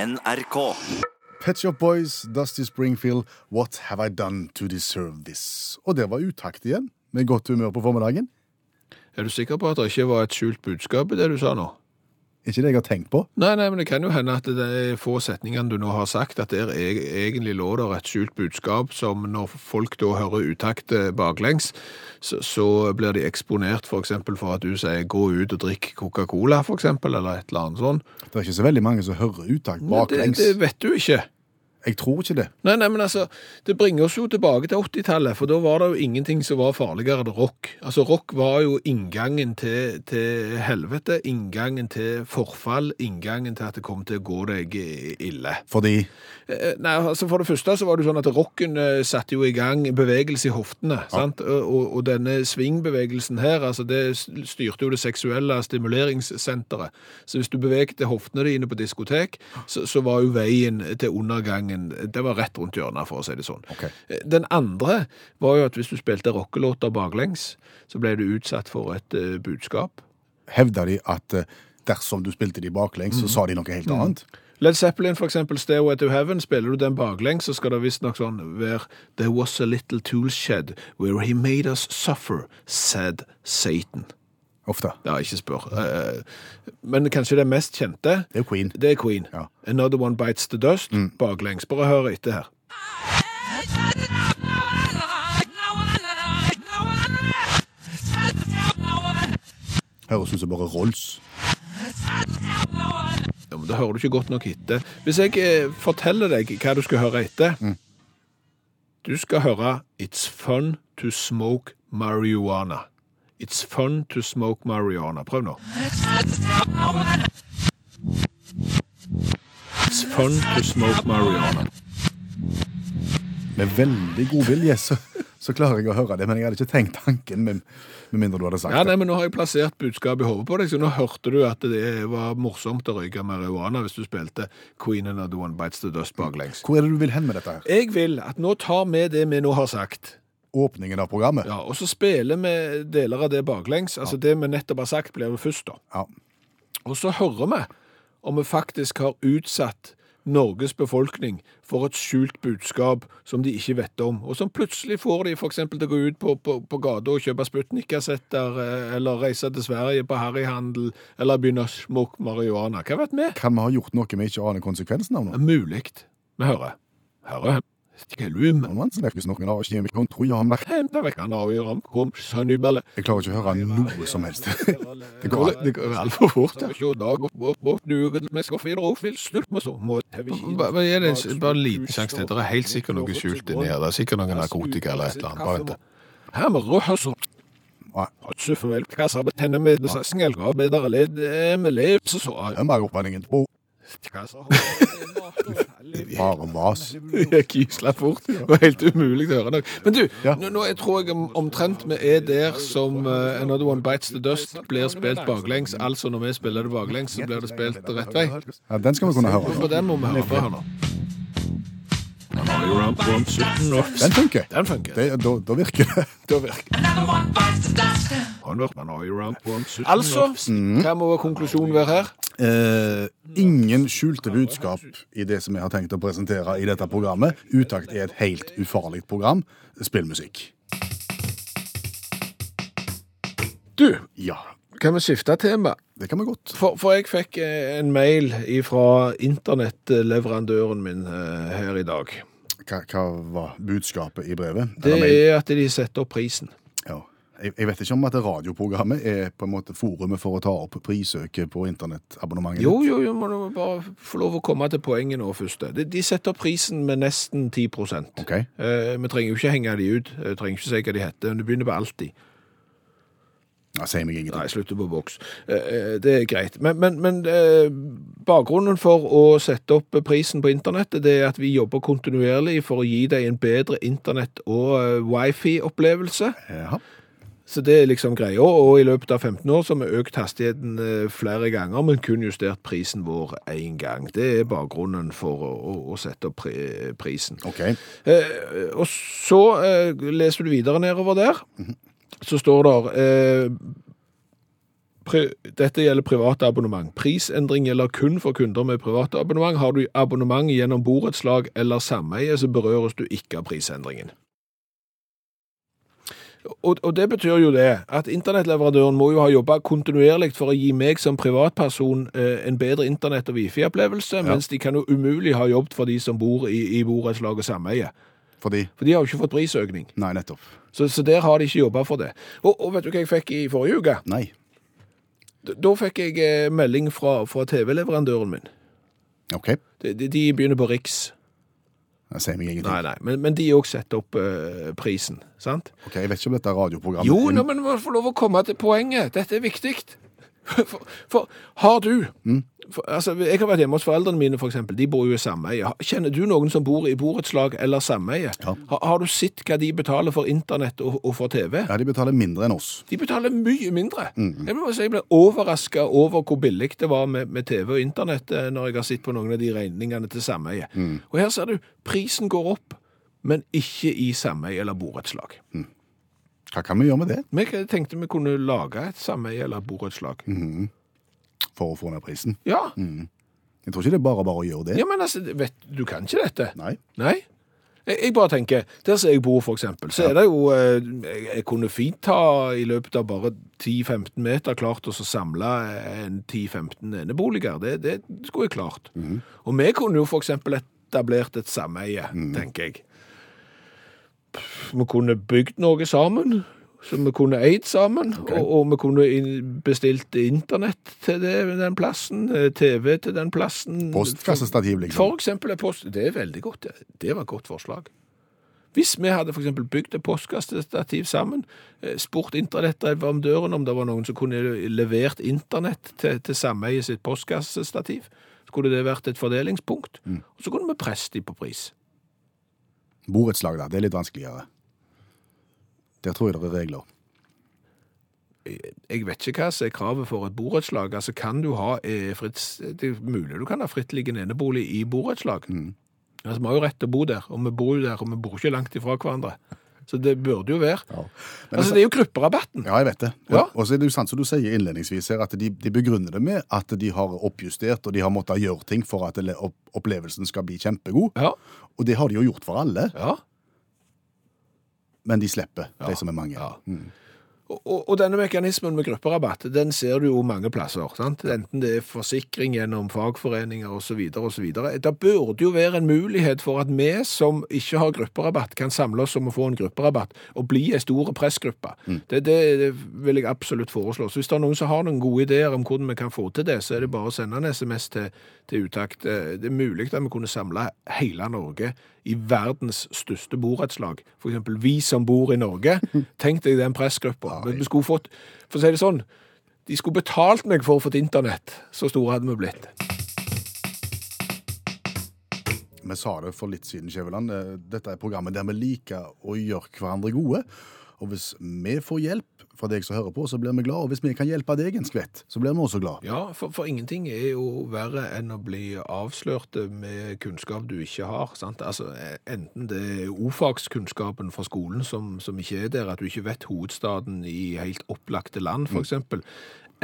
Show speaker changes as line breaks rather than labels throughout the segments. NRK.
Pet Shop Boys, Dusty Springfield, What Have I Done To Deserve This? Og det var utakt igjen, med godt humør på formiddagen.
Er du sikker på at det ikke var et skjult budskap i det du sa nå?
Ikke det jeg har tenkt på.
Nei, nei, men det kan jo hende at det er få setningene du nå har sagt, at der e- egentlig lå der et skjult budskap som når folk da hører utakt eh, baklengs, så, så blir de eksponert for eksempel for at du sier gå ut og drikk Coca-Cola for eksempel, eller et eller annet sånn.
Det er ikke så veldig mange som hører utakt baklengs.
Det, det vet du ikke.
Jeg tror ikke det.
Nei, nei, men altså, det bringer oss jo tilbake til 80-tallet, for da var det jo ingenting som var farligere enn rock. Altså, rock var jo inngangen til, til helvete, inngangen til forfall, inngangen til at det kom til å gå deg ille.
Fordi
Eh, Nei, altså For det første så var det jo sånn at rocken eh, satte jo i gang bevegelse i hoftene. sant? Og, og denne svingbevegelsen her, altså det styrte jo det seksuelle stimuleringssenteret. Så hvis du bevegte hoftene dine på diskotek, så, så var jo veien til undergangen Det var rett rundt hjørnet, for å si det sånn.
Ok.
Eh, Den andre var jo at hvis du spilte rockelåter baklengs, så ble du utsatt for et eh, budskap.
hevda de at eh, dersom du spilte de baklengs,
Mhm.
så sa de noe helt annet.
Led Zeppelin, for eksempel, Stairway to Heaven, spiller du den baklengs, så skal det visstnok sånn være There was a little tool shed where he made us suffer, said Satan.
Ofte.
Ja, ikke spør. Eh, Men kanskje det mest kjente,
Det er jo Queen.
det er Queen.
Ja. Mm.
Another One Bites the Dust, baklengs. Bare hør etter her.
Høres ut som bare Rolls.
Ja, men Da hører du ikke godt nok etter. Hvis jeg eh, forteller deg hva du skal høre etter
Mm.
Du skal høre It's fun to smoke marijuana. It's fun to smoke marijuana. Prøv nå. It's fun to smoke marijuana.
Med veldig god vilje så, så klarer jeg å høre det, men jeg hadde ikke tenkt tanken med, med mindre du hadde sagt
Ja, nei,
det.
men Nå har jeg plassert budskapet i hodet på deg, så nå hørte du at det var morsomt å røyke marihuana hvis du spilte Queen and the One Bites the Dust baklengs.
Hvor er det du vil hen med dette her?
Jeg vil at nå tar vi det vi nå har sagt.
Åpningen av programmet?
Ja, og så spiller vi deler av det baklengs. Altså det vi nettopp har sagt blir jo først da.
Ja.
Og så hører vi om vi faktisk har utsatt Norges befolkning for et skjult budskap som de ikke vet om, og som plutselig får de for eksempel til å gå ut på, på, på gata og kjøpe Sputnik-kassetter, eh, eller reise til Sverige på harryhandel, eller begynne å smoke marihuana. Hva vet vi?
Kan vi ha gjort noe vi ikke aner konsekvensen av nå?
Det er muligt. Vi hører. Herre, skelum.
Men man snakker ikke noen av oss, jeg kan tro jeg har merket.
Henta vekk han av i ramkom, sønnibelle.
Jeg klarer ikke å høre noe som helst.
Det går, det går altfor fort. Bare gi det en bare en liten sjanse til. Det er helt sikkert noe skjult inni her. Det er sikkert noe narkotika eller et eller annet. Bare vent. Her med rødhøsser.
Nei.
Suffevelkasser betenner med disse snelgarbeidere ledd med leps og så
Hømmeroppvanningen og bare vas.
Jeg kisla fort. Det var helt umulig å høre noe. Men du,
Ja.
nå, nå jeg tror jeg om- omtrent vi er der som eh, Another One Bites the Dust blir spilt baklengs. Altså når vi spiller det baklengs, så blir det spilt rett vei.
Ja, den skal vi kunne
På
høre.
den må vi høre på her nå.
Den funker.
Den funker.
Det, da, da virker det.
Da virker Altså, hva må konklusjonen være her?
Eh, ingen skjulte budskap i det som jeg har tenkt å presentere i dette programmet. Utakt er et helt ufarlig program. Spill musikk.
Du,
Ja,
kan vi skifte tema?
det kan vi godt.
For, for jeg fikk eh, en mail fra internettleverandøren min eh, her i dag.
Hva, hva var budskapet i brevet?
Det
Eller mail?
er at de setter opp prisen.
Ja. Jeg, jeg vet ikke om at radioprogrammet er på en måte forumet for å ta opp prissøket på internettabonnementet.
Jo, jo, jo, må du bare få lov å komme til poenget nå først. De, de setter opp prisen med nesten 10
Ok.
eh, Vi trenger jo ikke henge de ut, eh, trenger ikke si hva de heter, men det begynner på alltid.
Ja, sier meg ingenting.
Nei, slutter på boks. Eh, eh, Det er greit. Men, men, men eh, bakgrunnen for å sette opp prisen på internettet, det er at vi jobber kontinuerlig for å gi deg en bedre internett- og eh, wifi-opplevelse.
Jaha.
Så det er liksom greia, og i løpet av 15 år så har vi økt hastigheten eh, flere ganger, men kun justert prisen vår én gang. Det er bakgrunnen for å, å- å sette opp pri- prisen.
Ok.
Eh, og så eh, leser du videre nedover der. Så står der eh, Pri Dette gjelder private abonnement. Prisendring gjelder kun for kunder med private abonnement. Har du abonnement gjennom borettslag eller sameie, så berøres du ikke av prisendringen. Og, og det betyr jo det at internettleverandøren må jo ha jobba kontinuerlig for å gi meg som privatperson eh, en bedre internett- og wifi-opplevelse, mens de kan jo umulig ha jobbet for de som bor i, i borettslag og sameie.
Fordi
For de har jo ikke fått prisøkning.
Nei, nettopp.
Så, så der har de ikke jobba for det. Og, og vet du hva jeg fikk i forrige uke?
Nei.
D- Da fikk jeg eh, melding fra, fra TV-leverandøren min.
OK. Jeg
De, de, de begynner på Riks.
sier meg ingenting.
Nei, nei, men, men de òg setter opp eh, prisen, sant?
Ok, Jeg vet ikke om dette er radioprogrammet.
Jo, nå, men man får lov å komme til poenget. Dette er viktig. For, for har du for, altså, Jeg har vært hjemme hos foreldrene mine, f.eks. De bor jo i sameie. Har- Kjenner du noen som bor i borettslag eller sameie?
Ja.
Har, har du sett hva de betaler for internett og, og for TV?
Ja, De betaler mindre enn oss.
De betaler mye mindre. Jeg må si jeg ble overraska over hvor billig det var med, med TV og internett eh, når jeg har sett på noen av de regningene til sameie. Og her ser du, prisen går opp, men ikke i sameie eller borettslag.
Hva kan vi gjøre med det
Men jeg tenkte vi kunne lage et sameie eller et borettslag.
for å få ned prisen?
Ja.
Jeg tror ikke det er bare bare å gjøre det.
ja, men altså, vet, du kan ikke dette.
Nei.
Nei. Jeg, jeg bare tenker, der som jeg bor for eksempel, så er det jo, eh, jeg, jeg kunne fint ta i løpet av bare 10-15 meter klart å så samle eh, en 10-15 eneboliger. Det, det skulle jeg klart. Og vi kunne jo for eksempel etablert et sameie, tenker jeg. Vi kunne bygd noe sammen, som vi kunne eid sammen, og, og vi kunne inn- bestilt internett til det, den plassen, eh, TV til den plassen.
Postkassestativ, liksom.
For eksempel er post... Det er veldig godt. Det, det var et godt forslag. Hvis vi hadde for eksempel bygd et postkassestativ sammen, eh, spurt internettleverandøren om det var noen som kunne levert internett til, til sameiet sitt postkassestativ, skulle det vært et fordelingspunkt. Og så kunne vi presse de på pris.
Borettslag, da. Det er litt vanskeligere. Der tror jeg det er regler.
Jeg vet ikke hva som er kravet for et borettslag. Altså, kan du ha eh, fritt Det er mulig du kan ha frittliggende enebolig i borettslag. Altså, vi har jo rett til å bo der, og vi bor jo der, og vi bor ikke langt ifra hverandre. Så det burde jo være.
Men
altså, det er jo grupperabatten.
Ja, jeg vet det.
Ja.
Og- Og så er det jo sant som du sier innledningsvis her, at de, de begrunner det med at de har oppjustert og de har måttet gjøre ting for at ele- opp opplevelsen skal bli kjempegod.
Ja.
Og det har de jo gjort for alle,
ja.
men de slipper,
Ja.
de som er mange. Mm.
ja. Og, og, og denne mekanismen med grupperabatt, den ser du jo mange plasser. sant? Enten det er forsikring gjennom fagforeninger osv. osv. Det burde jo være en mulighet for at vi som ikke har grupperabatt, kan samle oss om å få en grupperabatt og bli ei stor pressgruppe. Det, det, det vil jeg absolutt foreslå. Så hvis det er noen som har noen gode ideer om hvordan vi kan få til det, så er det bare å sende en SMS til, til Utakt. Eh, Det er mulig at vi kunne samle hele Norge i verdens største borettslag. For eksempel vi som bor i Norge. Tenk deg den pressgruppa. Men Vi skulle fått, for å si det sånn, de skulle betalt meg for å få et internett. Så store hadde vi blitt.
Vi sa det for litt siden, Skjæveland. eh, Dette er programmet der vi liker å gjøre hverandre gode. Og hvis vi får hjelp fra deg som hører på, så blir vi glad. Og hvis vi kan hjelpe deg en skvett, så blir vi også glad.
Ja, for, for ingenting er jo verre enn å bli avslørt med kunnskap du ikke har. sant? Altså, eh, Enten det er ofagskunnskapen fra skolen som, som ikke er der, at du ikke vet hovedstaden i helt opplagte land, f.eks., eksempel,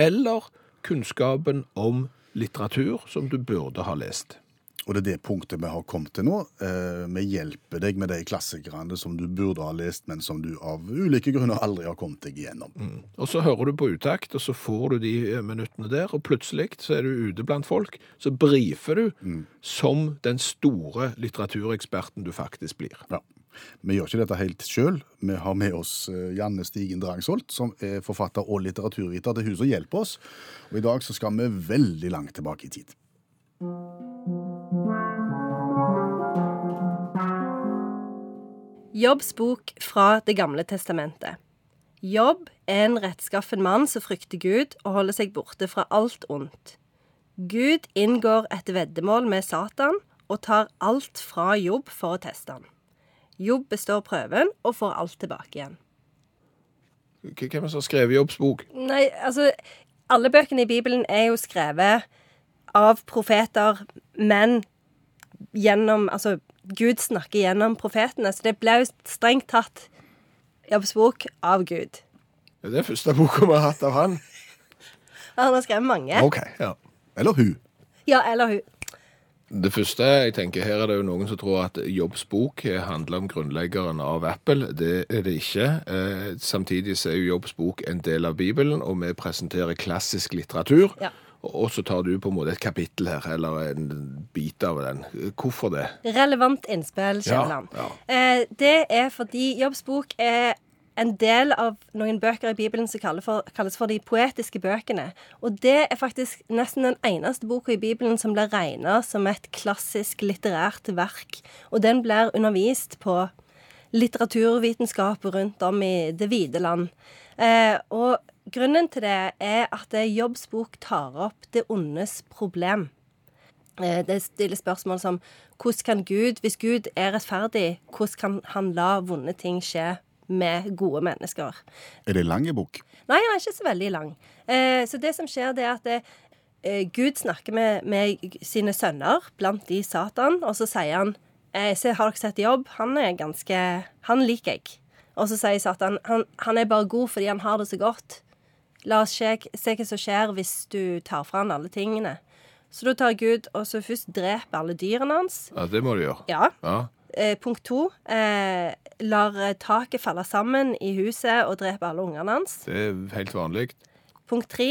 eller kunnskapen om litteratur som du burde ha lest.
Og det er det punktet vi har kommet til nå. Eh, Vi hjelper deg med de klassikerne som du burde ha lest, men som du av ulike grunner aldri har kommet deg igjennom.
Og så hører du på utakt, og så får du de eh, minuttene der, og plutselig så er du ute blant folk, så brifer du som den store litteratureksperten du faktisk blir.
Ja. Vi gjør ikke dette helt sjøl. Vi har med oss eh, Janne Stigen Drangsholt, som er forfatter og litteraturviter til Huset og hjelper oss. Og i dag så skal vi veldig langt tilbake i tid.
Jobbs bok fra Det gamle testamentet. Jobb er en rettskaffen mann som frykter Gud og holder seg borte fra alt ondt. Gud inngår et veddemål med Satan og tar alt fra jobb for å teste han. Jobb består prøven og får alt tilbake igjen.
K- Hvem er det som har skrevet Jobbs bok?
Nei, altså Alle bøkene i Bibelen er jo skrevet av profeter, men gjennom Altså, Gud snakker gjennom profetene, så det ble jo strengt tatt Jobbs bok av Gud.
Ja, Det er første boka vi har hatt av han.
Han har skrevet mange.
OK. ja.
Eller hun.
Ja, eller hun.
Det første jeg tenker her, er det jo noen som tror at Jobbs bok handler om grunnleggeren av Apple. Det er det ikke. Eh, samtidig så er jo Jobbs bok en del av Bibelen, og vi presenterer klassisk litteratur.
Ja.
Og så tar du på en måte et kapittel her, eller en bit av den. Hvorfor det?
Relevant innspill, Skjæveland.
Ja,
eh, det er fordi Jobbs bok er en del av noen bøker i Bibelen som kalles for, kalles for de poetiske bøkene. Og det er faktisk nesten den eneste boka i Bibelen som blir regna som et klassisk litterært verk. Og den blir undervist på litteraturvitenskap rundt om i det vide land. Eh, og grunnen til det er at eh, Jobbs bok tar opp det ondes problem. Eh, Det stiller spørsmål som hvordan kan Gud, hvis Gud er rettferdig, hvordan kan han la vonde ting skje med gode mennesker?
Er det lang i bok?
Nei, han er ikke så veldig lang. Eh, så det som skjer, det er at eh, eh, Gud snakker med, med sine sønner, blant de Satan, og så sier han eh, se, Har dere sett Jobb? Han er ganske Han liker jeg. Og så sier Satan han, han er bare god fordi han har det så godt. La oss se, se hva som skjer hvis du tar fra han alle tingene. Så da tar Gud og så først dreper alle dyrene hans.
Ja, det må du gjøre.
Ja,
Ja.
Eh, punkt to eh, lar eh, taket falle sammen i huset og drepe alle ungene hans.
Det er helt vanlig.
Punkt tre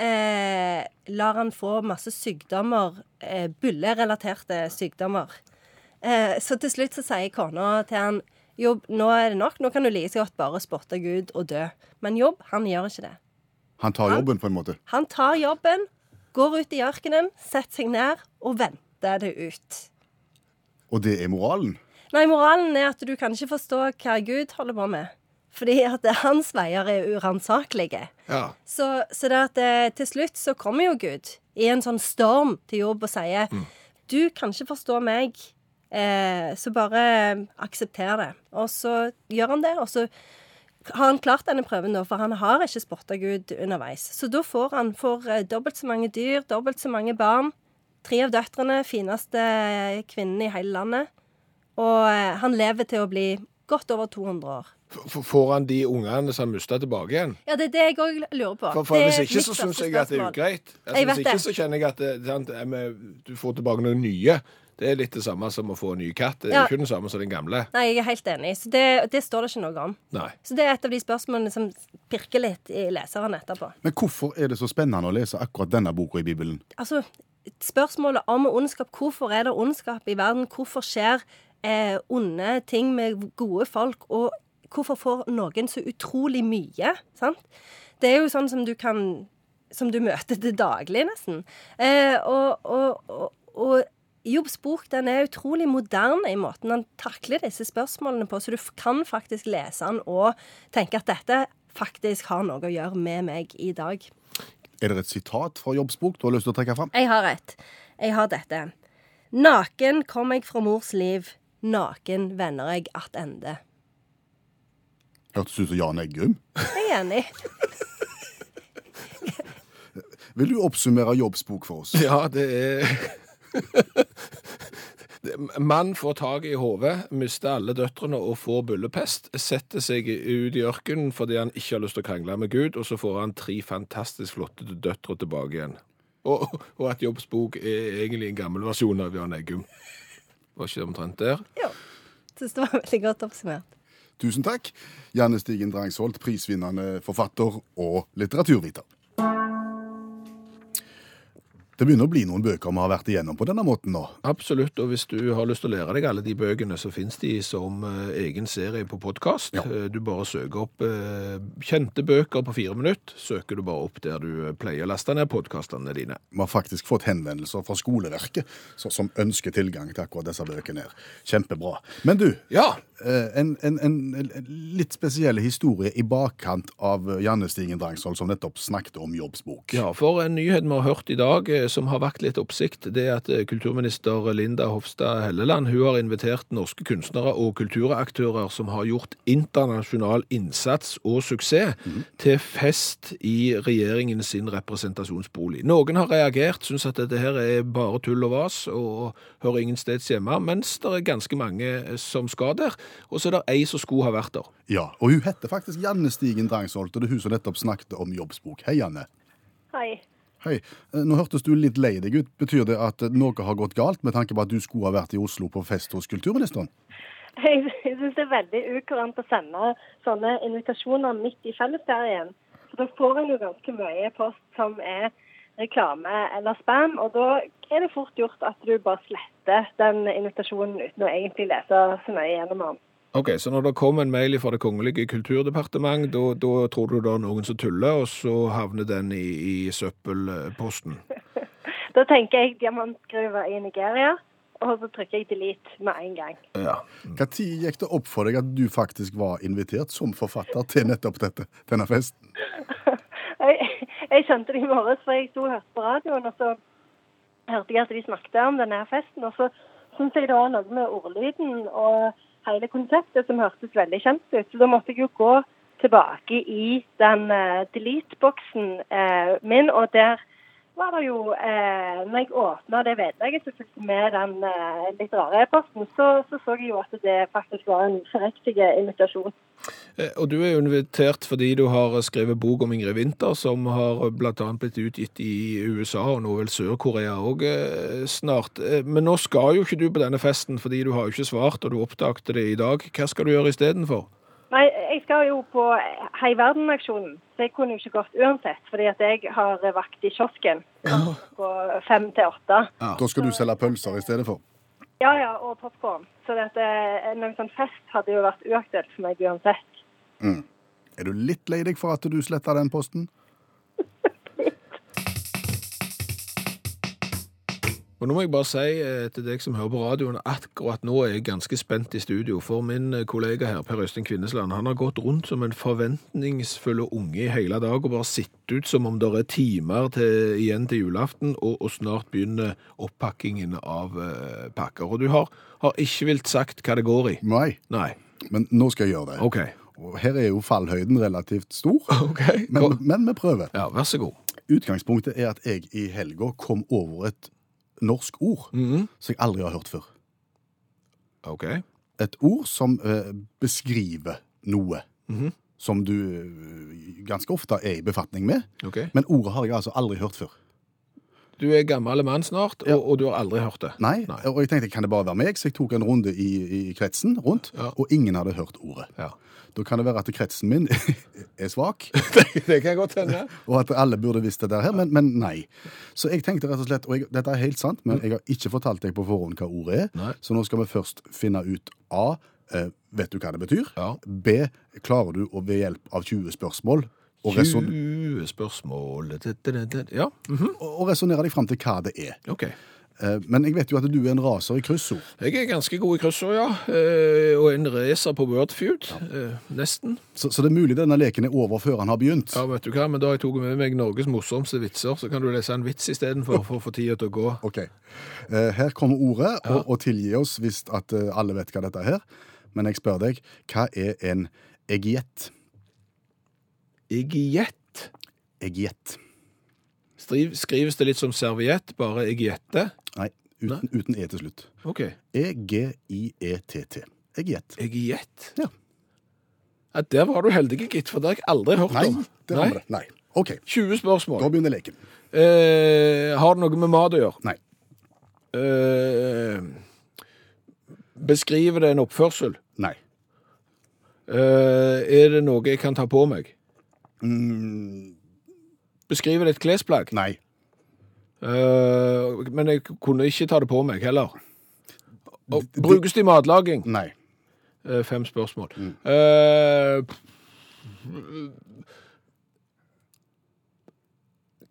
eh, lar han få masse sykdommer, eh, bullerelaterte sykdommer. Eh, så til slutt så sier kona til han Jobb, nå er det nok. Nå kan du like så godt bare spotte Gud og dø. Men Jobb, han gjør ikke det.
Han tar jobben, på en måte.
Han tar jobben, går ut i ørkenen, setter seg ned og venter det ut.
Og det er moralen.
Nei, moralen er at du kan ikke forstå hva Gud holder på med. Fordi at hans veier er uransakelige.
Ja.
Så, så det at eh, til slutt så kommer jo Gud i en sånn storm til jobb og sier
Mm.
Du kan ikke forstå meg, eh, så bare eh, aksepter det. Og så gjør han det, og så har han klart denne prøven, da, for han har ikke spotta Gud underveis. Så da får han får eh, dobbelt så mange dyr, dobbelt så mange barn. Tre av døtrene, fineste kvinnen i hele landet. Og eh, han lever til å bli godt over 200 år.
F- Får han de ungene som han mista, tilbake igjen?
Ja, det er det jeg òg lurer på.
For, for
Det er
Hvis ikke,
mitt
så
største
syns jeg at det er
spørsmål.
ugreit. Altså,
Jeg
hvis
vet
ikke,
det.
så kjenner jeg at det, sant, eh, men du får tilbake noen nye. Det er litt det samme som å få en ny katt. Det er
Ja.
ikke den samme som den gamle.
Nei, jeg er helt enig. Så det, det står det ikke noe om.
Nei.
Så det er et av de spørsmålene som pirker litt i leseren etterpå.
Men hvorfor er det så spennende å lese akkurat denne boka i Bibelen?
Altså, spørsmålet om ondskap. Hvorfor er det ondskap i verden? Hvorfor skjer eh, onde ting med gode folk? Og hvorfor får noen så utrolig mye? Sant? Det er jo sånn som du kan Som du møter til daglig, nesten. Eh, og, og, og, og Jobbs bok den er utrolig moderne i måten han takler disse spørsmålene på, så du f- kan faktisk lese den og tenke at dette faktisk har noe å gjøre med meg i dag.
Er det et sitat fra Jobbs bok du har lyst til å trekke fram?
Jeg har et. Jeg har dette. Naken kom jeg fra mors liv, naken vender jeg attende.
Hørtes ut som Jan Eggum.
Jeg er enig.
Vil du oppsummere Jobbs bok for oss?
Ja, det er Mann får tak i hodet, mister alle døtrene og får bullepest. Setter seg ut i ørkenen fordi han ikke har lyst til å krangle med Gud, og så får han tre fantastisk flotte døtre tilbake igjen. Og, og at Jobbs bok er egentlig en gammel versjon av Jan Eggum. Var ikke det omtrent der?
Jo. Syns det var veldig godt oppsummert.
Tusen takk, Janne Stigen Drangsholt, prisvinnende forfatter og litteraturviter. Det begynner å bli noen bøker vi har vært igjennom på denne måten nå.
Absolutt, og hvis du har lyst til å lære deg alle de bøkene, så finnes de som eh, egen serie på podkast. Du bare søker opp eh, kjente bøker på fire minutter. Søker du bare opp der du eh, pleier å laste ned podkastene dine.
Vi har faktisk fått henvendelser fra skoleverket så- som ønsker tilgang til akkurat disse bøkene. her. Kjempebra. Men du,
Ja!
eh, en, en, en en litt spesiell historie i bakkant av Janne Stigen Drangsholt, som nettopp snakket om jobbsbok.
Ja, for en nyhet vi har hørt i dag eh, som har vakt litt oppsikt, det er at eh, kulturminister Linda Hofstad Helleland hun har invitert norske kunstnere og kulturaktører som har gjort internasjonal innsats og suksess, til fest i regjeringen sin representasjonsbolig. Noen har reagert, syns at dette her er bare tull og vas og hører ingen steds hjemme, mens det er ganske mange eh, som skal der. Og så er det ei som skulle ha vært der.
Ja, og hun heter faktisk Janne Stigen Drangsholt, og det er hun som nettopp snakket om jobbsbok. Hei, Janne.
Hei.
Hei, eh, nå hørtes du litt lei deg ut. Betyr det at eh, noe har gått galt, med tanke på at du skulle ha vært i Oslo på fest hos kulturministeren?
Jeg syns det er veldig ukurant å sende sånne invitasjoner midt i fellesferien. For da får en jo ganske mye post som er reklame eller spam, og da er det fort gjort at du bare sletter den invitasjonen uten å egentlig lese så mye gjennom den.
Ok, Så når det kom en mail fra Det kongelige kulturdepartement, da, da tror du det er noen som tuller, og så havner den i, i søppelposten?
Da tenker jeg diamantgruve i Nigeria, og så trykker jeg delete med en gang.
Ja.
Når gikk det opp for deg at du faktisk var invitert som forfatter til nettopp dette, denne festen?
Jeg, jeg skjønte det i morges, for jeg sto og hørte på radioen, og så hørte jeg at de snakket om denne her festen. Og så syntes jeg det var noe med ordlyden og hele konseptet som hørtes veldig kjent ut. Så da måtte jeg jo gå tilbake i den eh, delete-boksen eh, min, og der var det jo eh, Når jeg åpna det vedlegget som fulgte med den eh, litt rare e-posten, så, så så jeg jo at det faktisk var en forriktig invitasjon.
Eh, Og du er jo invitert fordi du har skrevet bok om Ingrid Winther, som har bl.a. blitt utgitt i USA, og nå vel Sør-Korea òg snart. Eh, Men nå skal jo ikke du på denne festen, fordi du har jo ikke svart, og du oppdagte det i dag. Hva skal du gjøre istedenfor?
Nei, jeg skal jo på Hei verden-aksjonen, så jeg kunne jo ikke gått uansett. Fordi at jeg har vakt i kiosken på fem til åtte.
Da skal du selge pølser i stedet for.
Ja ja, og popkorn. Så det at eh, noen sånn fest hadde jo vært uaktuelt for meg uansett.
Er du litt lei deg for at du sletta den posten?
Og nå må jeg bare si eh, til deg som hører på radioen at akkurat nå er jeg ganske spent i studio, for min eh, kollega her, Per Øystein Kvinnesland, han har gått rundt som en forventningsfull unge i hele dag og bare sittet ut som om det er timer til, igjen til julaften, og, og snart begynner opppakkingen av eh, pakker. Og du har, har ikke vilt sagt hva det går i.
Nei,
Nei.
men nå skal jeg gjøre det.
OK.
Og her er jo fallhøyden relativt stor,
OK.
men, men vi prøver.
Ja, vær så god.
Utgangspunktet er at jeg i helga kom over et norsk ord som jeg aldri har hørt før.
OK.
Et ord som eh, beskriver noe
Mhm.
som du eh, ganske ofte er i befatning med,
ok.
men ordet har jeg altså aldri hørt før.
Du er gammel mann snart, og, og du har aldri hørt det.
Nei,
Nei.
og jeg tenkte, kan det bare være meg? Så jeg tok en runde i, i kretsen rundt,
Ja.
og ingen hadde hørt ordet.
Ja.
Da kan det være at kretsen min er svak,
Det kan godt hende.
og at alle burde visst det der her, men, men nei. Så jeg tenkte rett og slett, og jeg, dette er helt sant, men jeg har ikke fortalt deg på forhånd hva ordet er,
Nei.
så nå skal vi først finne ut A, eh, vet du hva det betyr?
Ja.
B, klarer du å ved hjelp av 20 spørsmål og reson-
20 spørsmål det- det- det- det- Ja, mhm,
og- og resonere deg frem til hva det er?
OK.
Eh, men jeg vet jo at du er en raser i kryssord.
Jeg er ganske god i kryssord, ja. Eh, Og en racer på Wordfeud. Eh, Nesten.
Så, så det er mulig denne leken er over før han har begynt.
Ja, vet du hva, men da har jeg tatt med meg Norges morsomste vitser, så kan du lese en vits istedenfor for å få tida til å gå.
Ok. Eh, her kommer ordet, og, og tilgi oss hvis at eh, alle vet hva dette er. Men jeg spør deg, hva er en egiett?
Egiett.
Egiett.
Striv- Skrives det litt som serviett, bare egiette?
Nei, uten, uten E til slutt. E
OK.
E-G-I-E-T-T. Egiett.
Egiett.
Ja.
Ja, der var du heldig, gitt, for det har jeg aldri hørt
Nei,
om.
det var det. Nei. OK,
20
da
spørsmål.
begynner leken.
Eh, har det noe med mat å gjøre?
Nei.
Eh, beskriver det en oppførsel?
Nei.
Eh, er det noe jeg kan ta på meg?
Mm,
Beskriver det et klesplagg?
nei.
Eh, men jeg kunne ikke ta det på meg heller. Og, brukes det i matlaging?
Nei.
Eh, fem spørsmål. Eh,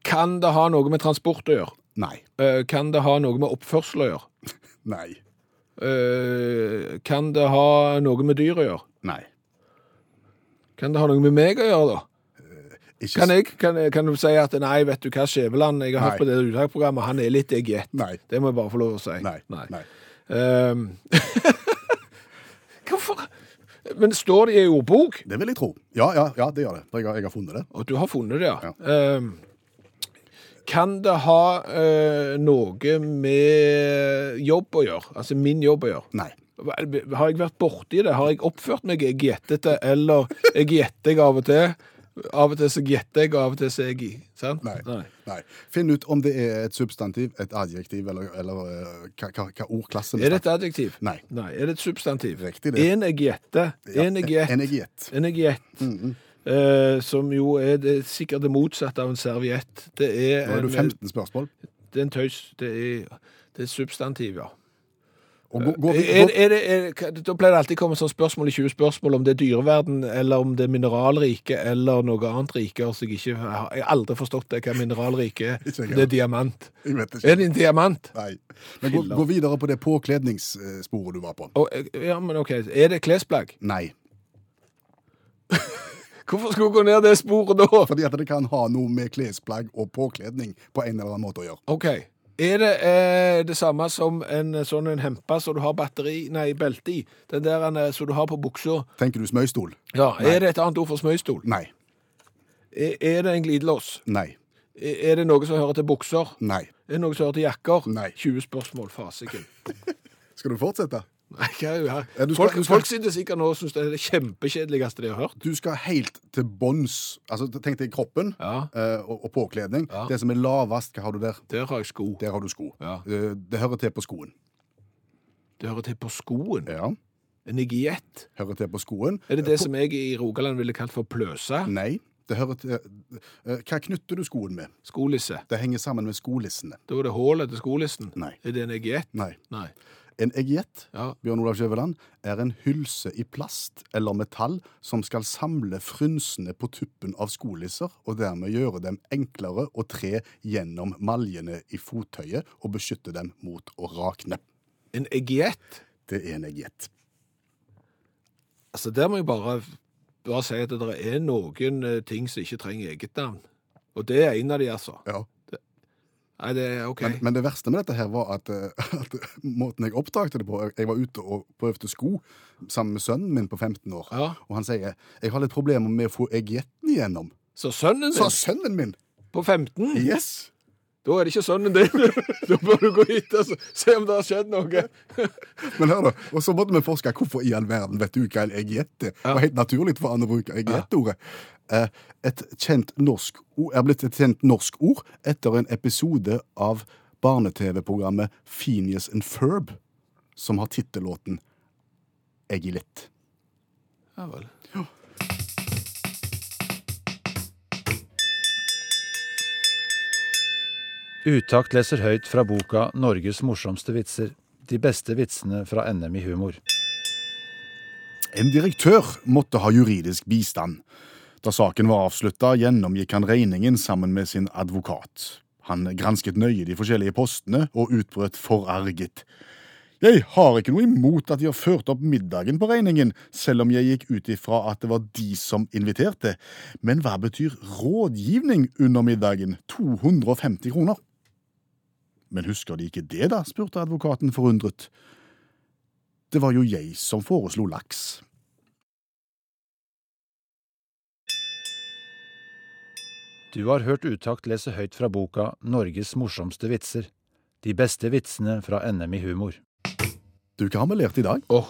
kan det ha noe med transport å gjøre?
Nei.
Eh, kan det ha noe med oppførsel å gjøre?
Nei.
Eh, kan det ha noe med dyr å gjøre?
Nei.
Kan det ha noe med meg å gjøre, da?
Ikke
Kan,
s-
jeg, kan, kan du si at nei, vet du hva, Skjæveland, jeg har hørt
Nei.
på det uttaksprogrammet, han er litt egiett.
Nei.
Det må jeg bare få lov å si.
Nei. Nei.
Ehm, Hvorfor? Men står det i en ordbok?
Det vil jeg tro. Ja, ja, ja, det gjør det. Jeg har, jeg har funnet det.
Og du har funnet det, ja. Ehm, kan det ha eh, noe med jobb å gjøre? Altså min jobb å gjøre?
Nei.
Hva- Har jeg vært borti det? Har jeg oppført meg egietete, eller jeg gjetter jeg av og til? Av og til så gjetter jeg, og av og til så er jeg i. Sant?
Nei. Nei. Finn ut om det er et substantiv, et adjektiv, eller, eller eh, hva, hva, hva ordklasse
Er det et adjektiv?
Nei.
Er det et substantiv?
Riktig det.
En jeg gjetter.
Ja,
En jeg gjetter.
En Mm-hmm. egiett.
En egiett, eh, som jo er det, sikkert det motsatte av en serviett. Det er,
Nå er
en,
du 15 spørsmål.
det er en tøys. Det er, det er et substantiv, ja.
Og gå, gå,
Eh, Er, er det, er, hva- da pleier det alltid å komme sånn spørsmål i 20 spørsmål om det er dyreverden, eller om det er mineralrike, eller noe annet rike. Altså, jeg, ikke, jeg har jeg har aldri forstått det, hva mineralrike er.
Ikke jeg
Det er diamant.
jeg vet
Er
ikke.
det en diamant?
Nei. Men gå, gå videre på det påkledningssporet du var på.
Og, eh, ja, men ok. Er det klesplagg?
Nei.
Hvorfor skulle jeg gå ned det sporet da?
Fordi at det kan ha noe med klesplagg og påkledning på en eller annen måte å gjøre.
Ok. Er det eh, det samme som en eh, sånn en hempe som du har batteri, nei, belte i? Den der en, eh, som du har på buksa?
Tenker du smøystol?
Ja. Er det et annet ord for smøystol?
Nei.
Er, er det en glidelås?
Nei.
Er, er det noe som hører til bukser?
Nei.
Er det noe som hører til jakker?
Nei.
20 spørsmål, fasiken.
Skal du fortsette?
Nei, hva er det her?
Ja, du skal-
folk,
du skal-
folk sitter sikkert nå og syns det er det kjempekjedeligste de har hørt.
Du skal helt til bånns. Altså, tenk deg kroppen
Ja.
eh, og, og påkledning.
Ja.
Det som er lavest, hva har du der?
Der har jeg sko.
Der har du sko.
Ja.
Eh, det hører til på skoen.
Det hører til på skoen.
Ja.
En igiett.
Hører til på skoen.
Er det det som jeg i Rogaland ville kalt for pløse?
Nei. Det hører til eh, Hva knytter du skoen med?
Skolisse.
Det henger sammen med skolissene.
Da er det hullet til skolisten.
Nei.
Er det en egiett?
Nei.
Nei.
En egiett,
Ja.
Bjørn Olav Skjæveland, er en hylse i plast eller metall som skal samle frynsene på tuppen av skolisser, og dermed gjøre dem enklere å tre gjennom maljene i fottøyet og beskytte dem mot å rakne.
En egiett?
Det er en egiett.
Altså, der må jeg bare, bare si at det er noen eh, ting som ikke trenger eget navn. Og det er en av de, altså.
Ja.
Nei, det er OK.
Men, men det verste med dette her var at, eh, at måten jeg oppdagte det på Jeg var ute og prøvde sko sammen med sønnen min på 15 år,
Ja.
og han sier 'Jeg har litt problemer med å få egietten igjennom'.
Så sønnen din
Sa sønnen min!
på 15,
Yes!
da er det ikke sønnen din. da bør du gå hit og se om det har skjedd noe.
Men hør da, og så måtte vi forske hvorfor i all verden vet du hva en egiett er. Det var helt naturlig for han å bruke egiettordet. Eh, Et kjent norsk ord er blitt et kjent norsk ord etter en episode av barne-TV-programmet Phineas and Ferb, som har tittellåten Egilett.
Ja vel.
Utakt leser høyt fra boka 'Norges morsomste vitser'. De beste vitsene fra NM i humor.
En direktør måtte ha juridisk bistand. Da saken var avslutta, gjennomgikk han regningen sammen med sin advokat. Han gransket nøye de forskjellige postene og utbrøt forarget. Jeg har ikke noe imot at de har ført opp middagen på regningen, selv om jeg gikk ut ifra at det var de som inviterte, men hva betyr rådgivning under middagen, 250 kroner? Men husker de ikke det, da? spurte advokaten forundret. Det var jo jeg som foreslo laks.
Du har hørt Utakt lese høyt fra boka 'Norges morsomste vitser'. De beste vitsene fra NM i humor.
Du, hva har vi lært i dag?
Åh,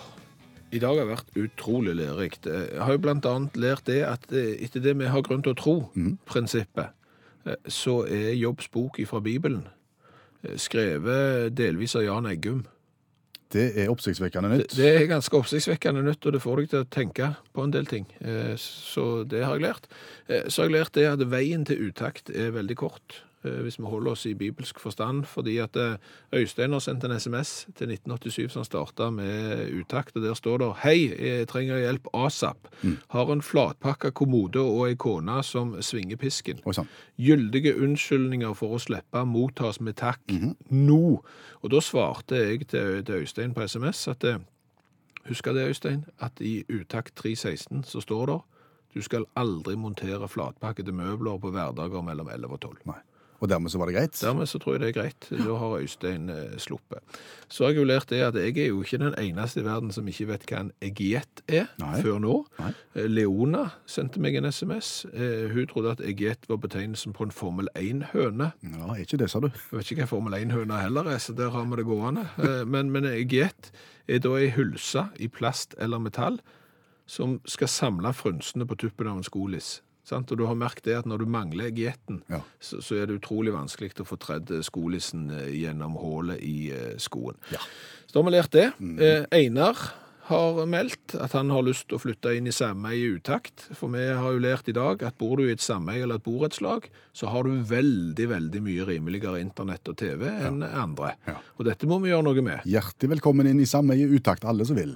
I dag har vært utrolig lærerikt. Eh, Jeg har jo blant annet lært det at eh, etter det vi har grunn til å tro, prinsippet, eh, så er Jobbs bok fra Bibelen eh, skrevet delvis av Jan Eggum.
Det er oppsiktsvekkende
Det,
nytt.
det er ganske oppsiktsvekkende nytt, og det får deg til å tenke på en del ting. Eh, Så det har jeg lært. Eh, Så har jeg lært det at veien til utakt er veldig kort, eh, hvis vi holder oss i bibelsk forstand, fordi at eh, Øystein har sendt en SMS til 1987 som starta med utakt, og der står det Hei, jeg trenger hjelp asap. Har en flatpakka kommode og ei kone som svinger pisken.
Oi sånn. sann.
Gyldige unnskyldninger for å slippe mottas med takk nå. Og da svarte jeg til, til Øystein på SMS at eh, Husker det, Øystein, at i Utakt 316 så står det du skal aldri montere flatpakkede møbler på hverdager mellom 11 og 12.
Nei. Og dermed så var det greit?
Dermed så tror jeg det er greit. Da har Øystein eh, sluppet. Så har jeg jo lært det at jeg er jo ikke den eneste i verden som ikke vet hva en egiett er,
Nei.
før nå.
Nei.
Eh, Leona sendte meg en SMS. Eh, Hun trodde at egiett var betegnelsen på en Formel 1-høne.
Ja, er ikke det, sa du.
Jeg vet ikke hva Formel 1-høna heller er, så der har vi det gående. Eh, Men, men egiett er da ei hylse i plast eller metall som skal samle frynsene på tuppen av en skoliss. Sant? Og du har merket det at når du mangler gjetten,
Ja.
så, så er det utrolig vanskelig til å få tredd skolissen eh, gjennom hullet i eh, skoen. Så da har vi lært det.
Mm.
Eh, Einar har meldt at han har lyst til å flytte inn i sameie i utakt. For vi har jo lært i dag at bor du i et sameie eller et borettslag, så har du veldig, veldig mye rimeligere internett og TV enn andre.
Ja.
Og dette må vi gjøre noe med.
Hjertelig velkommen inn i sameie utakt, alle som vil.